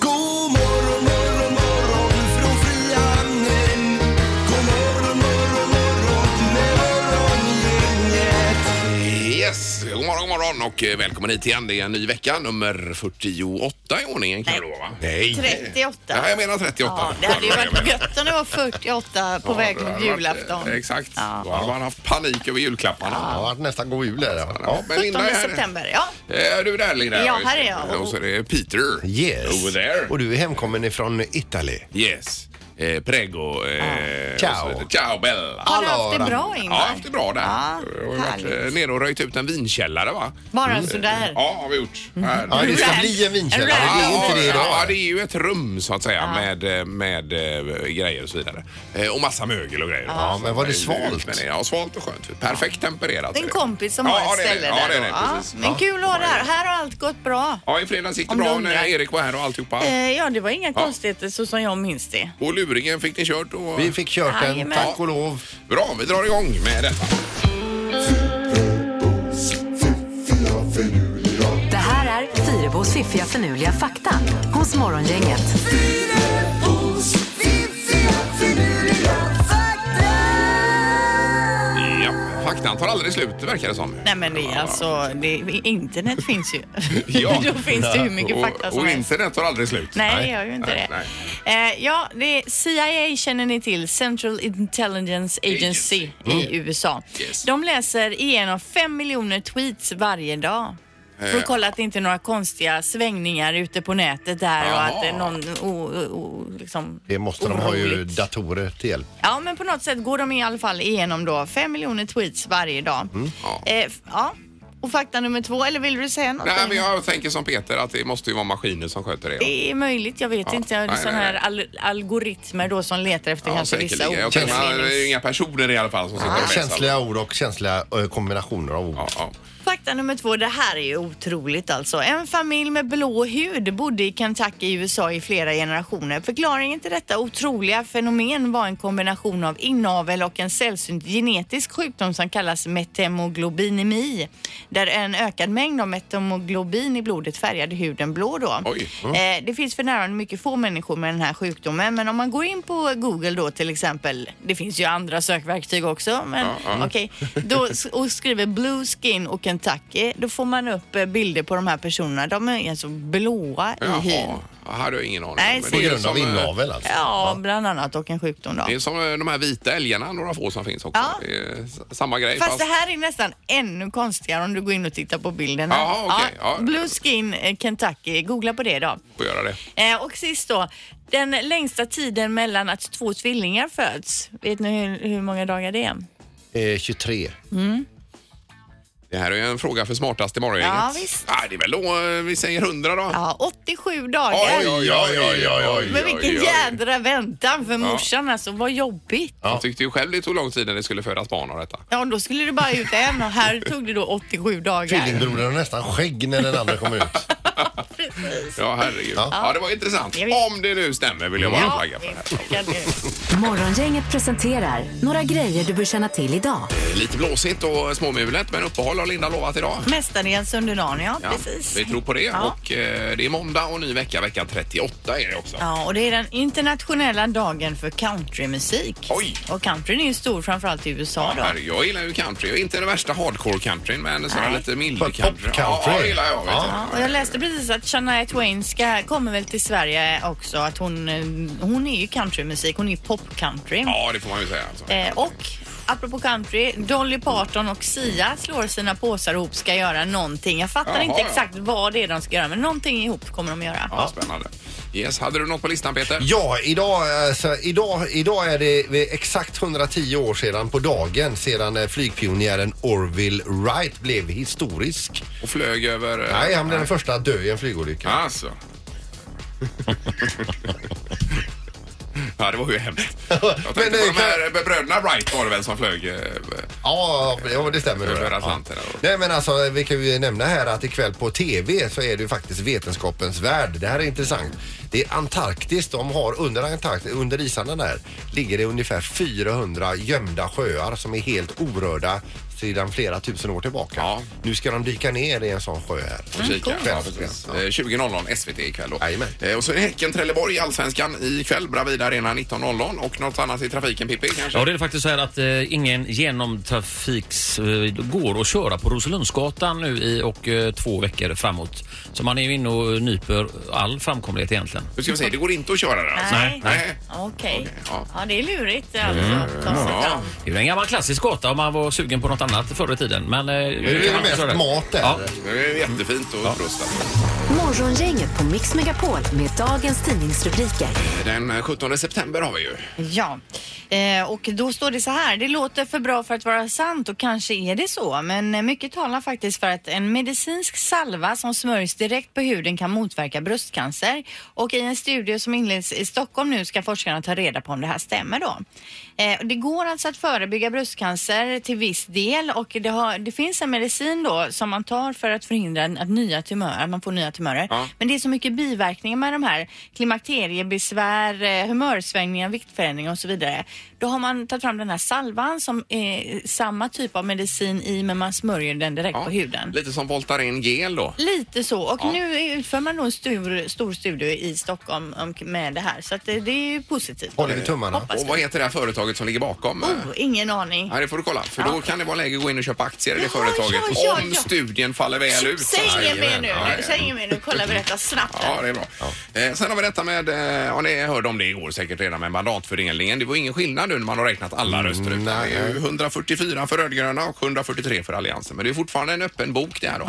God morgon, morgon, morgon från Frihamnen. God morgon, morgon, morgon med morgongänget. Yes, god morgon, god morgon och eh, välkommen hit igen. Det är en ny vecka, nummer 48 i ordningen kan det vara va? Nej. 38. Ja, jag menar 38. Ja, det hade ju varit gött om det var 48 på väg det hade mot varit, julafton. eh, Exakt. Ja. Då hade man haft panik över julklapparna. Ja, det har varit nästan god jul där. ja. Ah. Ja, men 17 Linda är här. september, ja. Eh, Är du där Linda? Ja, här är jag. Och så är det Peter. Yes. Over there. Och du är hemkommen ifrån Italy. Yes. Eh, prego. Eh, Ciao. och så vidare. Ciao Bella. Har du Alla haft det har bra Ja, Ingmar? haft det bra där. Ja, Jag har ju varit härligt. eh, nere och röjt ut en vinkällare va? Mm. Bara Mm. sådär. Ja, har vi gjort. Här. Ja, det ska Rad. bli en vinkällare. Rad. Det är inte det idag. Ja, det är ju ett rum så att säga med, eh, med eh, grejer och så vidare. Eh, Och massa mögel och grejer. Ja, men var det svalt? Men, eh, ja, svalt och skönt. Perfekt tempererat. Det är en kompis som Ja, har ett det är det. ställe Ja, där. det är det. då. Ja, Precis. Men kul att ha det här. Här har allt gått bra. Ja, i fredags gick det Om du bra undrar. när Erik var här och alltihopa. Eh, Ja, det var inga Ja. konstigheter så som jag minns det. Och luringen fick ni kört och... Vi fick kört den, Jajamän. tack och lov. Bra, vi drar igång med detta. Det här är Fyrabos fiffiga förnuliga fakta hos Morgongänget. Fyrabos fiffiga finurliga fakta. Ja, faktan tar aldrig slut verkar det som. Nej men det är alltså, det, internet finns ju. Ja. Då finns det hur mycket fakta och, som och helst. internet tar aldrig slut. Nej, det gör ju inte nej, det. nej. Eh, ja, det är CIA känner ni till, Central Intelligence Agency i USA. Mm. Yes. De läser igenom 5 miljoner tweets varje dag. För Eh. att kolla att det inte är några konstiga svängningar ute på nätet där och Jaha. att det är någon o, o, o, liksom Det måste de ha ju oroligt. datorer till hjälp. Ja, men på något sätt går de i alla fall igenom då 5 miljoner tweets varje dag. Mm. Ja. Eh, f- ja. Och fakta nummer två, eller vill du säga något? Nej, men Ingmar? jag tänker som Peter att det måste ju vara maskiner som sköter det. Det är möjligt, jag vet Ja. inte. Det är Nej, sådana nej, här nej. al- algoritmer då som letar efter kanske vissa ord. Ah, säkerligen. Jag eller tänker, det är ju menings- inga personer i alla fall som sitter och läser. Känsliga ord och känsliga ö, kombinationer av ord. Ja, ja. Fakta nummer två, det här är ju otroligt alltså. En familj med blå hud bodde i Kentucky i USA i flera generationer. Förklaringen till detta otroliga fenomen var en kombination av inavel och en sällsynt genetisk sjukdom som kallas metemoglobinemi. Där en ökad mängd av metemoglobin i blodet färgade huden blå då. Oj. Eh, det finns för närvarande mycket få människor med den här sjukdomen men om man går in på Google då till exempel, det finns ju andra sökverktyg också, men okej, då s- och skriver blue skin och Kentucky, då får man upp eh, bilder på de här personerna. De är alltså blåa i hyn. Jaha, jag hade ju ingen aning. Mm. Nej, Men så- På det är grund som, av eh, inavel alltså. Ja, bland annat och en sjukdom då. Det är som eh, de här vita älgarna, några få som finns också. Ja. Det är s- samma grej. Fast det här är nästan ännu konstigare om du går in och tittar på bilderna. Jaha, okej. Ja. Blue skin eh, Kentucky, googla på det då. Får göra det. Eh, och sist då, den längsta tiden mellan att två tvillingar föds. Vet ni hur, hur många dagar det är? Eh, 23. Det här är ju en fråga för smartast i morgongänget. Ja, visst. Ah, det är väl då, eh, vi säger 100 då. Ja, 87 dagar. oj, oj, oj, oj. Men vilken oj, oj. jädra väntan för morsan alltså, vad jobbigt. Jag tyckte ju själv det tog lång tid när det skulle födas barn av detta. Ja, då skulle du bara ut en och här tog det då 87 dagar. Tvillingbrodern har nästan skägg när den andra kommer ut. Ja, herregud. Ja, det var intressant. Ja, visst. Om det nu stämmer vill jag bara Ja, flagga för. här. det kan du. Morgongänget presenterar några grejer du bör känna till idag. Lite blåsigt och småmulet, men uppehåll har Linda lovat idag. Mestadels under dagen, ja, Ja, precis. Vi tror på det. Ja. Och eh, det är måndag och ny vecka, vecka 38 är det också. Ja, och det är den internationella dagen för countrymusik. Oj. Och countryn är ju stor framförallt i USA då. Här, jag gillar ju country. Jag är inte den värsta hardcore-countryn, men sådär Nej. lite mild Pop- country. Ja, country. ja, det gillar jag. Vet Ja, och jag läste precis att Shania Twain ska, kommer väl till Sverige också. Att hon, eh, hon är ju countrymusik, hon är ju pop-country. du. ja, det får man ju säga. Alltså. Eh, och apropå country, Dolly Parton och Sia slår sina påsar ihop ska göra någonting. Jag fattar Jaha, inte ja. exakt vad det är de ska göra men någonting ihop kommer de göra. Ja, spännande. Yes, hade du något på listan, Peter? Ja, idag, alltså, idag, idag är det eh, exakt 110 år sedan på dagen sedan eh, flygpionjären Orville Wright blev historisk. Och flög över... eh, Nej, han blev den första att dö i en flygolycka. Alltså. ja, det var ju hemskt. Jag tänkte Men det på är de här eh, bröderna Wright var det väl som flög eh, Ja, ja, det stämmer. För att höra Ja. sant här då. Nej men alltså vi kan ju nämna här att ikväll på TV så är det ju faktiskt Vetenskapens Värld. Det här är intressant. Det är Antarktis. De har under Antarktis, under isarna där, ligger det ungefär 400 gömda sjöar som är helt orörda sedan flera tusen år tillbaka. Ja. Nu ska de dyka ner i en sån sjö här. Och Mm, kika. Själv- Ja, precis. Eh, 20.00 SVT ikväll då. Jajamän. Eh, Och så är det Häcken-Trelleborg i Allsvenskan ikväll. Bravida Arena 19.00 och något annat i trafiken Pippi kanske? Ja, det är faktiskt så här att eh, ingen genomtrafiks eh, går att köra på Roselundsgatan nu i och eh, två veckor framåt. Så man är ju inne och nyper all framkomlighet egentligen. Nu ska vi se, det går inte att köra där alltså. Nej, nej. Okej. Okej, ja. Mm, Ja, det är lurigt alltså. att Ta sig Ja. fram. Det är ju en gammal klassisk gata om man var sugen på något annat förr i tiden. Men, eh, Nu är kan det man mest köra där. mat där. Ja. Det är jättefint och utrustat. Morgongänget på Mix Megapol med dagens tidningsrubriker. Eh, Den 17 september har vi ju. Ja, eh, och då står det så här. Det låter för bra för att vara sant och kanske är det så. Men mycket talar faktiskt för att en medicinsk salva som smörjs direkt på huden kan motverka bröstcancer. Och i en studie som inleds i Stockholm nu ska forskarna ta reda på om det här stämmer då. Eh, det går alltså att förebygga bröstcancer till viss del och det, har, det finns en medicin då som man tar för att förhindra att, nya tumörer, att man får nya tumörer. Ja. Men det är så mycket biverkningar med de här klimakteriebesvär, eh, humörsvängningar, viktförändringar och så vidare. Då har man tagit fram den här salvan som är samma typ av medicin i men man smörjer den direkt Ja. på huden. Lite som Voltaren gel då. Lite så och Ja. nu utför man då en stor, stor studie i Stockholm om- med det här så att det, det är ju positivt. Håller vi tummarna? Hoppas Och vad heter det här företaget som ligger bakom? Oh, ingen aning. Ja, det får du kolla. För då kan det vara läge att gå in och köpa aktier i det Ja, företaget ja, ja, om ja. studien faller väl ut. Säg inget mer nu. Ja, nu. Säg inget mer nu. Kolla berätta snabbt. Ja, det är bra. Eh, sen har vi detta med, eh, ja ni hörde om det igår säkert redan med mandatfördelningen. Det var ingen skillnad nu när man har räknat alla röster ut. Det är ju 144 för rödgröna och 143 för alliansen. Men det är fortfarande en öppen bok det här då,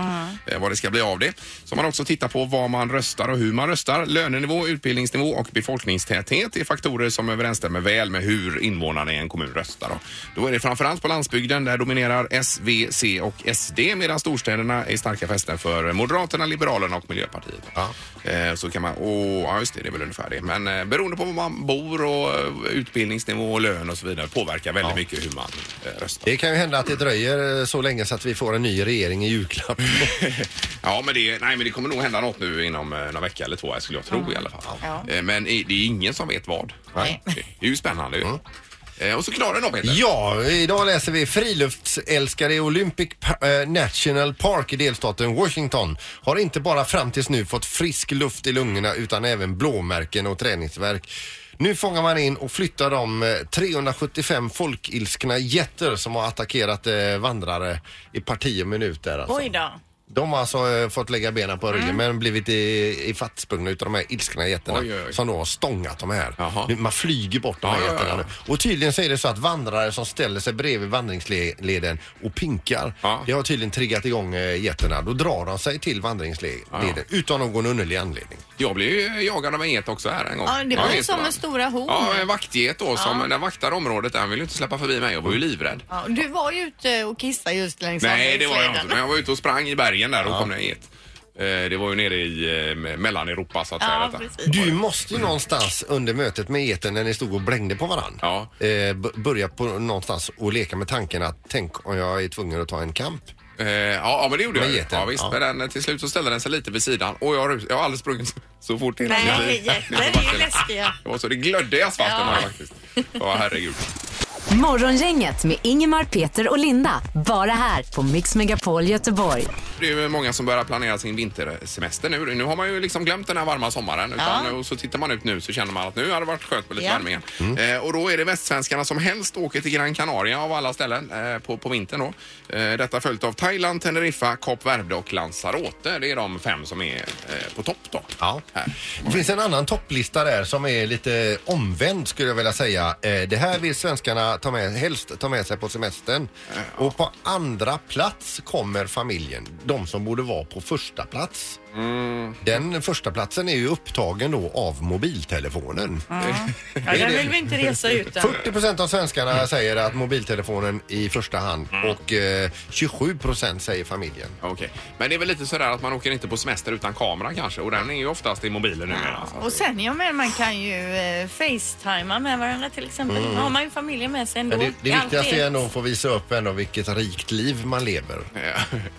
eh, vad det ska bli av det. Så man också tittar på vad man röstar och hur man röstar. Lönenivå, utbildningsnivå och befolkningstäthet är faktorer som överensstämmer väl med hur invånarna i en kommun röstar. Då, då är det framförallt på landsbygden där dominerar S, V, C och SD medan storstäderna är starka fästen för Moderaterna, Liberalerna och Miljöpartiet. Eh, Så kan man, åh, ja just det, det är väl ungefär det. Men eh, beroende på var man bor och eh, utbildningsnivå och lön och så vidare påverkar väldigt mycket hur man eh, röstar. Det kan ju hända att det dröjer eh, så länge så att vi får en ny regering i julklapp. Ja, men det, nej, men det kommer nog hända något nu inom eh, någon vecka eller två, skulle jag tro i alla fall. Ja. Eh, Men i- det är ingen som vet vad. Nej. Det är ju spännande ju. Eh, Och så klarar den då, Peter. Ja, idag läser vi friluftsälskare i Olympic Pa- eh, National Park i delstaten Washington har inte bara fram tills nu fått frisk luft i lungorna utan även blåmärken och träningsvärk. Nu fångar man in och flyttar de eh, 375 folkilskna getter som har attackerat eh, vandrare i par tio minuter. Alltså. Oj då. De har alltså eh, fått lägga benen på ryggen men blivit i- ifattsprungna utav de här ilskna getterna Mm. Oj, oj, oj. som då har stångat de här. Jaha. Nu- Man flyger bort de här Ja, ja, ja. getterna nu. Och tydligen så är det så att vandrare som ställer sig bredvid vandringsleden och pinkar, Ja. det har tydligen triggat igång eh, getterna. Då drar de sig till vandringsleden utan någon underlig anledning. Jag blev ju jagad av en get också här en gång. Ja, det var ju just som en stora horn. Ja, en vaktget då som den vaktar området. där. Han ville ju inte släppa förbi mig. Jag var ju livrädd. Ja, du var ju ute och kissade just längs Nej, det var jag inte. vandringsleden. Men jag var ute och sprang i bergen där och kom ner hit. Eh, Det var ju nere i eh, me- Mellaneuropa så att säga. Ja, Detta. precis. Du måste ju någonstans under mötet med eten när ni stod och blängde på varann Ja. eh, b- börja på någonstans och leka med tanken att tänk om jag är tvungen att ta en kamp. Eh, Ja, ja, men det gjorde Med jag ju. geten. Ja, visst. Ja. Men den, eh, till slut så ställde den sig lite vid sidan och jag, rus- jag har aldrig sprungit så fort innan. Nej, Jag- jätter jag- är ju läskiga. Det var så det glödde i asfalten Ja. här faktiskt. Ja, herregud. Morgongänget med Ingemar, Peter och Linda. Bara här på Mix Megapol Göteborg. Det är ju många som börjar planera sin vintersemester nu. Nu har man ju liksom glömt den här varma sommaren. Utan, Ja. Och så tittar man ut nu så känner man att nu har det varit skönt med lite Ja. värme igen. Eh, och då är det västsvenskarna som helst åker till Gran Canaria av alla ställen eh, på, på vintern då. Eh, detta följt av Thailand, Teneriffa, Kap Verde och Lanzarote. Det är de fem som är eh, på topp då. Ja. Här. Det finns en annan topplista där som är lite omvänd skulle jag vilja säga. Eh, Det här vill svenskarna ta med, helst ta med sig på semestern. Och på andra plats kommer familjen. De som borde vara på första plats. Den första platsen är ju upptagen då av mobiltelefonen. Ja, den vill vi inte resa utan. 40 procent av svenskarna säger att mobiltelefonen i första hand och eh, 27 procent säger familjen. Okej. Men det är väl lite sådär att man åker inte på semester utan kameran kanske och den är ju oftast i mobilen numera. så att- Och sen, ja men man kan ju eh, facetima med varandra till exempel. Mm. Då har man ju familjen med sig ändå. Men det, det Allt viktigaste är- är ändå att få visa upp ändå vilket rikt liv man lever.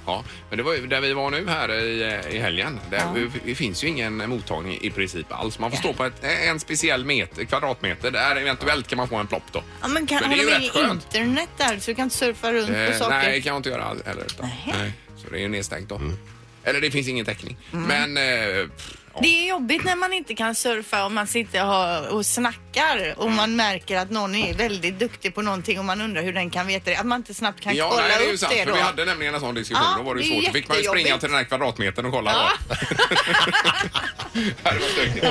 Ja, men det var ju där vi var nu här i, i helgen. Där Det finns ju ingen mottagning i princip alls. Man får stå på ett, en speciell meter, kvadratmeter. Där eventuellt kan man få en plopp då. Ja, men kan, Men det har är ju de rätt inget skönt. internet där så du kan inte surfa runt på Eh, saker? nej, det kan jag inte göra all- heller. Utan, nej. Så det är ju nedstängt då. Mm. Eller det finns ingen täckning. Mm. Men eh, pff, ja. Det är jobbigt när man inte kan surfa och man sitter och har- och snackar och man märker att någon är väldigt duktig på någonting och man undrar hur den kan veta det. Att man inte snabbt kan Ja, kolla nej, det är ju upp sant. det För då. vi hade nämligen en sån diskussion. Ja, då var det det ju är svårt. Då fick man ju springa jättejobbigt. till den här kvadratmetern och kolla. Ja. var. Ja, det var stökigt.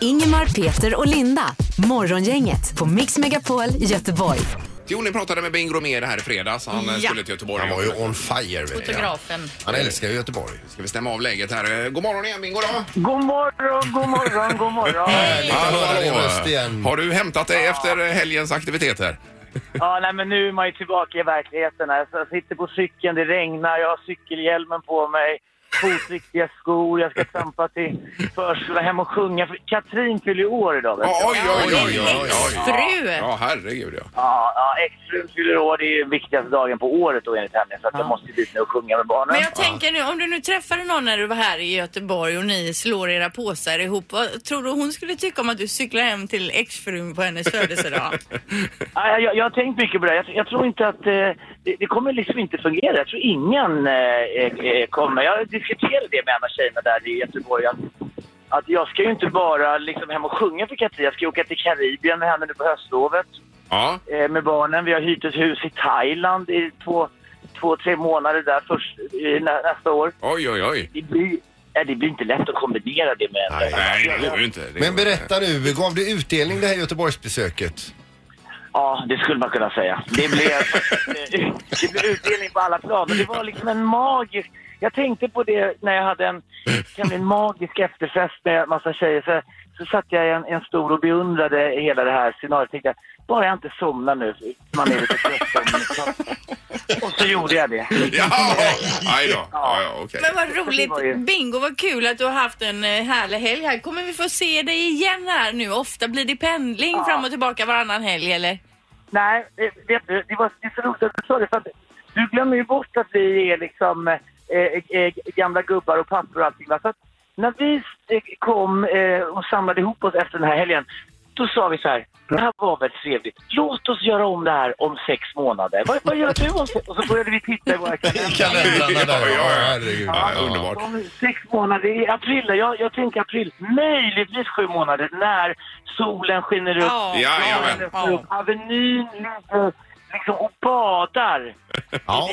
Ingemar, Peter och Linda. Morgongänget på Mix Megapol Göteborg. Jo, ni pratade med Bing Romér här i fredags. Han eh, Ja. skulle till Göteborg. Han var ju on fire. Vet jag. Fotografen. Han älskar ju Göteborg. Ska vi stämma av läget här. Eh, God morgon igen Bingo då. God morgon, god morgon, god morgon. Härligt att höra din röst igen. Har du hämtat dig efter helgens aktiviteter? Ja, nej, men nu är man ju tillbaka i verkligheten. Här. Så Jag sitter på cykeln, det regnar, jag har cykelhjälmen på mig, fotriktiga skor, jag ska trampa till förskolan, hem och sjunga. För Katrin fyller ju år idag. vet du. Ja, oj, oj, oj, oj, oj, oj. Fru! Ja, herregud ja. Ja, ja exfrun fyller år, det är ju viktigaste dagen på året då enligt henne. Så att jag måste dit nu och sjunga med barnen. Men jag tänker nu, om du nu träffade någon när du var här i Göteborg och ni slår era påsar ihop, vad tror du hon skulle tycka om att du cyklar hem till exfrun på hennes födelsedag? Ja, jag, jag har tänkt mycket på det här. jag, jag tror inte att eh, det, det kommer liksom inte fungera. Jag tror ingen eh, eh, kommer. Jag diskuterade det med en av tjejerna där i Göteborg. Att, att jag ska ju inte bara liksom hem och sjunga för Katrin. Jag ska ju åka till Karibien med henne nu på höstlovet Ja, eh, med barnen. Vi har hyrt ett hus i Thailand i två, två tre månader där först, eh, nä, nästa år. oj, oj, oj. Det blir, eh, det blir inte lätt att kombinera det med en Nej, det går ju inte. Det Men går inte. berätta nu, gav det utdelning det här Göteborgsbesöket? Ja, det skulle man kunna säga. Det blev, det blev utdelning på alla plan. Men det var liksom en magisk... Jag tänkte på det när jag hade en, kan en magisk efterfest med en massa tjejer. Så, så satt jag i en, en stor och beundrade hela det här scenariot. Tänkte jag, bara jag inte somnar nu. Man är lite trött. om- Och så gjorde jag det. Ja, aj då. Ja, ja, okej. Men vad var ju- roligt! Bingo, vad kul att du har haft en eh, härlig helg här. Kommer vi få se dig igen här nu? Ofta blir det pendling fram och tillbaka varannan helg eller? Nej, eh, vet du, det, var, det är så roligt att du sa det. För att du glömmer ju bort att vi är liksom eh, eh, gamla gubbar och pappor och allting. Va? Så att när vi eh, kom eh, och samlade ihop oss efter den här helgen, då sa vi så här. Det här var väl trevligt. Låt oss göra om det här om sex månader. Vad, vad gör du om sex? Och så började vi titta i våra kalendrar. Kalendrarna Ja, ja, där, ja, ja. herregud. Ja, underbart. Om sex månader i april, jag, jag tänker april, möjligtvis sju månader när solen skiner upp Jajamän. Ja. Avenyn ligger liksom och badar. Ja,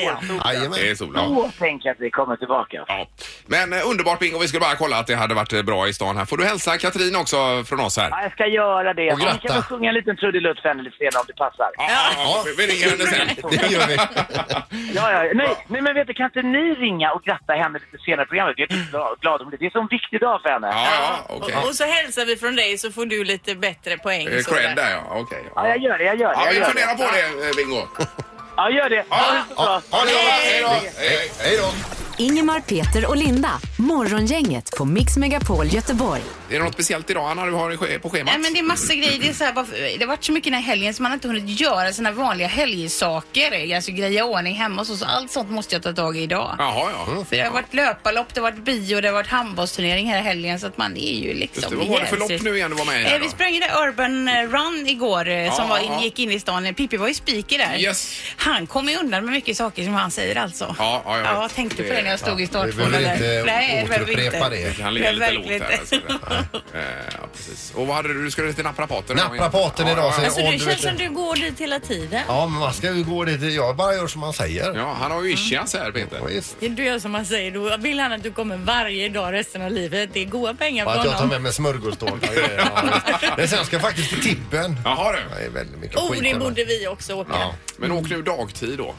jajamän. Det är solen. Ja. Då tänker jag att vi kommer tillbaka. Ja. Men eh, underbart Bingo, vi skulle bara kolla att det hade varit eh, bra i stan här. Får du hälsa Katrin också från oss här? Ja, jag ska göra det. Och Ja, Ni gratta. kan väl sjunga en liten trudelutt för henne lite senare om det passar. Ja, ja, vi- vi ringer henne sen. Det gör vi. Ja, ja, nej, nej, men vet du, kan inte ni ringa och gratta henne lite senare i programmet? Jag är glad- glad om det. Det är en sån viktig dag för henne. Ja, ja, okej. Och, och så hälsar vi från dig så får du lite bättre poäng. Eh, så Cred där. där ja, okej. Ja, Ja. jag gör det. Jag gör det. Ja, jag vi gör funderar det. på det eh, Bingo. Ja, gör det. Ha det så bra. Ha det bra, hej då. Hej. Hej då. Ingemar, Peter och Linda. Morgongänget på Mix Megapol Göteborg. Är det något speciellt idag Anna du har i ske- på schemat? Nej men det är massa grejer. Det, är så här, bara, det har varit så mycket den här helgen så man har inte hunnit göra sina vanliga helgsaker. Alltså greja i ordning hemma och så, så. Allt sånt måste jag ta tag i idag. Jaha, ja. Mm. För det har varit löparlopp, det har varit bio, det har varit handbollsturnering här i helgen så att man är ju liksom... Just det, vad var det för lopp nu igen du var med i? här Eh, vi då? sprang ju det Urban eh, Run igår eh, som Ja, var ja. in, gick in i stan. Pippi var ju speaker där. Yes. Han kom ju undan med mycket saker som han säger alltså. Ja, ja, jag vet. ja jag tänkte på det när jag stod i Vi startfållan. behöver där. inte det behöver vi inte. återupprepa det. Han ligger Ja, lite lågt verkligen. här. Alltså. Eh, ja, precis. Och vad hade du? Du skulle till naprapaten? idag, igen. Naprapaten Ja, idag ja, ja. säger Alltså Åh, det du känns som vet- du går dit hela tiden. Ja, men man ska ju gå dit. Jag bara gör som man säger. Ja, han har ju ischias här Peter. Visst. Du gör som han säger, då vill han att du kommer varje dag resten av livet. Det är goda pengar Och för att jag tar honom. med mig smörgåstårta och grejer. Ja, visst. Men sen ska jag faktiskt till tippen. Jaha Det du. är väldigt mycket Oh, skit. det där. borde vi också åka. Ja. Mm. Men åk nu dagtid då.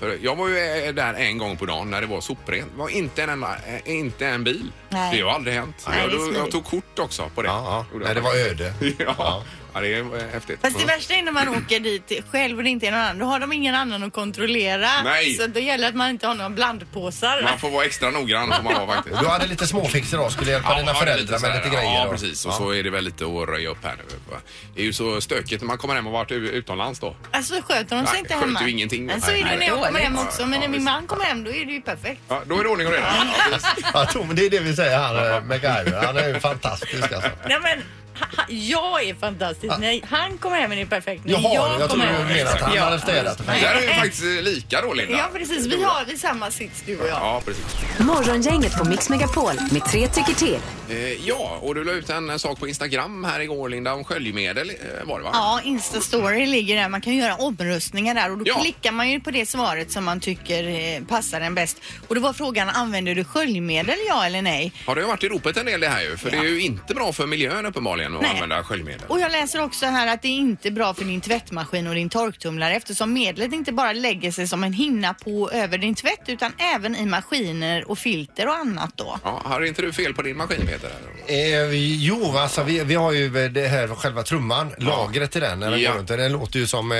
För jag var ju eh, där en gång på dagen när det var soprent. Det var inte en, enda, eh, inte en bil. Nej. Det har aldrig hänt. Nej, jag, det är jag smidigt. tog kort också på det. ja. Gjorde Nej, jag. det var öde. ja. ja, det är eh, häftigt. Fast det värsta är när man åker dit själv och det inte är någon annan. Då har de ingen annan att kontrollera. Nej. Så det gäller att man inte har några blandpåsar. Man får vara extra noggrann får man vara faktiskt. Du hade lite småfix idag, skulle hjälpa Ja, dina ja, föräldrar så med här, lite grejer. Ja, då. precis. Och Ja. så är det väl lite att röja upp här nu. va. Det är ju så stökigt när man kommer hem och varit u- utomlands då. Alltså sköter de sig Nej, inte sköter hemma? ju ingenting. Men så är Nej, det nej. när jag kommer hem Dåligt. också. Men när min man kommer hem då är det ju perfekt. Ja, då är det ordning och reda. Ja, precis. Ja, Tom, det är det vi säger här, eh, MacGyver. Han är ju fantastisk alltså. Nej men ha- ha- jag är fantastisk. Nej, han kommer hem och det är perfekt. Nej, Jaha, jag kommer tror hem. du menar att han Ja. hade städat. Det här är ju faktiskt eh, lika då, Linda. Ja precis, vi har vi samma sits du och jag. Ja, precis. Morgongänget på Mix Megapol med tre tycker till. Eh, ja, och du la ut en eh, sak på Instagram här igår, Linda, om sköljmedel eh, var det va? Ja, Instastory ligger där. Man kan göra omröstningar där och då Ja. klickar man ju på det svaret som man tycker eh, passar en bäst. Och då var frågan, använder du sköljmedel ja eller nej? Har det ju varit i ropet en del det här ju, för det är ju inte bra för miljön uppenbarligen att Nej. använda sköljmedel. Och jag läser också här att det är inte bra för din tvättmaskin och din torktumlare eftersom medlet inte bara lägger sig som en hinna på över din tvätt utan även i maskiner och filter och annat då. Ja, hade inte du fel på din maskin Peter? Eh, vi- jo, alltså vi, vi har ju det här själva trumman, lagret i den. När den, Ja. går runt. den låter ju som eh,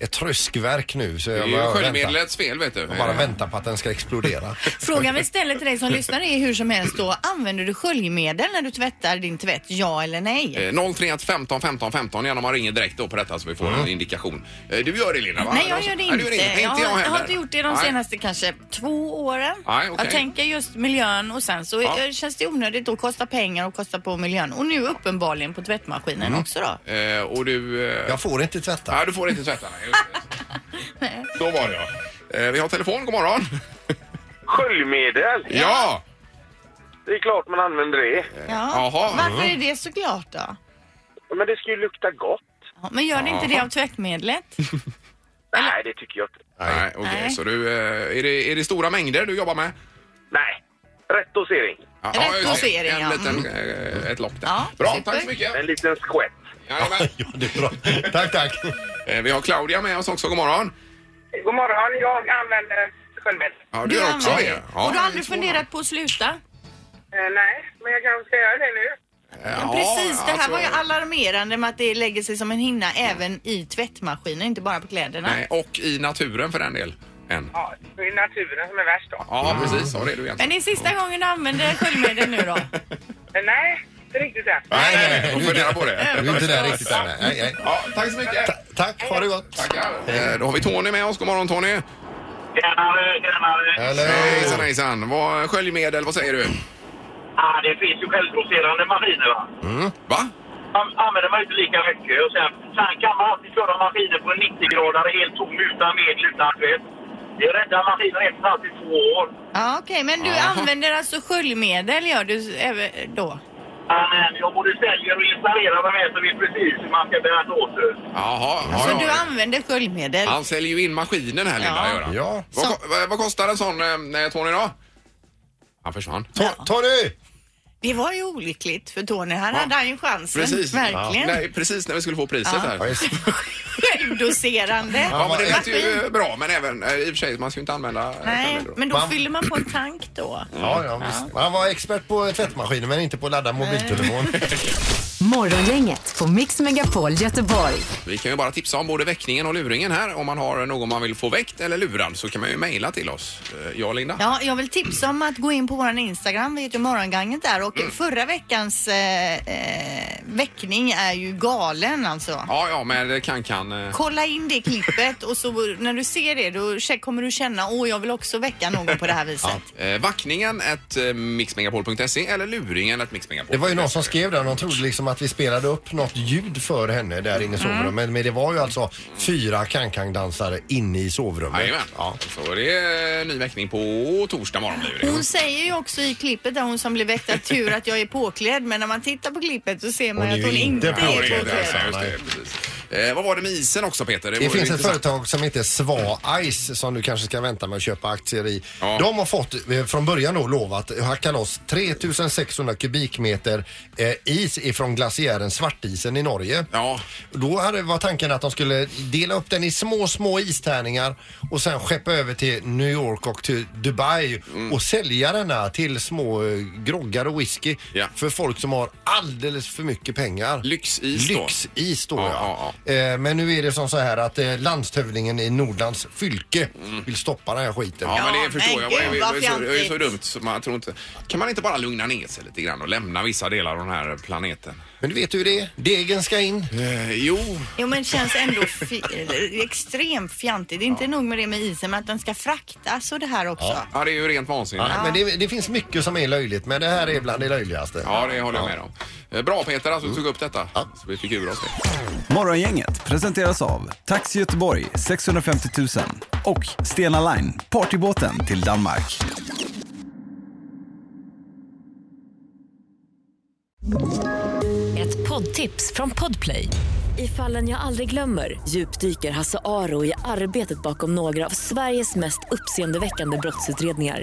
ett tröskverk nu. Så Det är jag ju bara väntar, sköljmedlets fel vet du. Eh, jag bara väntar på att den ska explodera. Frågan vi ställer till dig som lyssnar är hur som helst då, använder du sköljmedel när du tvättar din tvätt, ja eller nej? Eh, 031 15 15 15 gärna om man ringer direkt då på detta så vi får en indikation. Eh, Du gör det Linda va? Nej, jag gör det alltså, Nej, inte. du Nej, jag, inte jag har, jag heller. har inte gjort det de Nej. senaste kanske två åren. Nej, okej. Jag tänker just miljön och sen så Ja. eh, känns det onödigt att kosta pengar och kosta på miljön. Och nu uppenbarligen på tvättmaskinen också då. Eh, och du... Eh... Jag får inte tvätta. Nej, du får inte tvätta. nej, just det. Så var det ja. Eh, vi har telefon, god morgon. Sköljmedel? Ja! Det är klart man använder det. Ja. Varför är det så klart då? Men det ska ju lukta gott. Ja, Men gör det inte det av tvättmedlet? Nej, det tycker jag inte. Nej, okej. Nej. Så du, eh, är, det, är det stora mängder du jobbar med? Nej. Rätt dosering. Ja, Rätt ja, just det. dosering, En ja. Mm. liten, eh, Ett lock där. Ja, Bra, super. tack så mycket. En liten skvätt. Jajamän. Ja, det är bra. tack, tack. Eh, Vi har Claudia med oss också, god morgon. God morgon, jag använder sköljmedel. Ja, du gör också använder det. Ja. och du har aldrig funderat på att sluta? Eh, nej, men jag kanske ska göra det nu. Ja, Precis, det här alltså- var ju alarmerande med att det lägger sig som en hinna även i tvättmaskinen, inte bara på kläderna. Nej, och i naturen för den del. Än. Ja, det är naturen som är värst då. Ja, Mm. precis. Ja, det är du Men egentligen. det är sista gången du använder sköljmedel nu då? Men Eh, nej, inte riktigt än. Nej, nej, nej. Jag får fundera på det. Du är inte där riktigt än. nej. Nej, nej. Ja, tack så mycket. Ta- Tack, ha det gott. Tackar. Eh, Då har vi Tony med oss. God morgon Tony. Tjenare, tjenare. Hello. Hejsan hejsan. Vad, sköljmedel, vad säger du? Ah, det finns ju självdoserande maskiner va? Mm. Va? Man använder man ju inte lika mycket. Och sen, sen kan man alltid köra maskiner på en 90-gradare helt tom utan medel, utan tvätt. Det räddar maskinen efter alltid två år. Ja, okej, men du använder alltså sköljmedel gör du även då? Men jag både säljer och installerar dem här så vet precis hur man ska bära sig åt. Jaha. ja, Så ja. du använder sköljmedel? Han säljer ju in maskinen här Linda. Ja. Gör han. Ja. Vad, ko- vad- vad kostar en sån eh, Tony då? Han försvann. To- Tony! Det var ju olyckligt för Tony, här Ja. hade han ju chansen. Precis. Verkligen. Nej, precis när vi skulle få priset Ja, här. just det. Självdoserande. Ja, men det lät Maskin. ju bra, men även eh, i och för sig, man ska ju inte använda eh, Nej, sköljmedel då. men då Man- fyller man på en tank då. Ja, ja, visst. Man var expert på tvättmaskinen men inte på att ladda mobiltelefon. Morgongänget på Mix Megapol Göteborg. Vi kan ju bara tipsa om både väckningen och luringen här. Om man har någon man vill få väckt eller lurad så kan man ju mejla till oss. Eh, Jag och Linda. Ja, jag vill tipsa om att gå in på våran Instagram, vi heter Morgonganget där och förra veckans eh, eh, väckning är ju galen alltså. Ja, ja, men det kan kan. eh, Kolla in det klippet och så när du ser det då kä- kommer du känna åh jag vill också väcka någon på det här viset. Eh, vackningen ett eh, mixmegapol.se eller luringen ett mixmegapol. Det var ju någon som skrev där, de trodde liksom att vi spelade upp något ljud för henne där inne i sovrummet. Men, men det var ju alltså fyra cancangdansare inne i sovrummet. Jajamän. Ja. Så det är eh, ny väckning på torsdag morgon blir det. Hon säger ju också i klippet där hon som blev väckt att tur att jag är påklädd men när man tittar på klippet så ser man Hon är ju att hon ju inte inte är Ja, det är påklädd. det. påklädd. Just det, precis. Eh, vad var det med isen också Peter? Det, var ju finns ett intressant. företag som heter Sva Ice som du kanske ska vänta med att köpa aktier i. De har fått eh, från början då lovat hacka loss 3600 kubikmeter eh, is ifrån glaciären Svartisen i Norge. Ja. Då hade, var tanken att de skulle dela upp den i små, små istärningar och sen skeppa över till New York och till Dubai och sälja denna till små eh, groggar och whisky för folk som har alldeles för mycket pengar. Lyxis då? Lyxis då, ja. Eh, Men nu är det som så här att eh, landshövdingen i Nordlands fylke vill stoppa den här skiten. Ja, men det förstår jag. Det är gud, ju vad så, det är ju så fjantigt. dumt. Så man tror inte. Kan man inte bara lugna ner sig lite grann och lämna vissa delar av den här planeten? Men du vet hur det är. Degen ska in. jo. Jo men det känns ändå fi- extremt fjantigt. Det är inte nog med det med isen men att den ska fraktas och det här också. Ja, det är ju rent vansinne. Ja, men det, det finns mycket som är löjligt, men det här är bland det löjligaste. Ja, det håller jag med om. Eh, Bra Peter att du tog upp detta. Så vi fick ur oss det. Morgongänget presenteras av Taxi Göteborg 650 000 och Stena Line, partybåten till Danmark. Ett poddtips från Podplay. I fallen jag aldrig glömmer djupdyker Hasse Aro i arbetet bakom några av Sveriges mest uppseendeväckande brottsutredningar.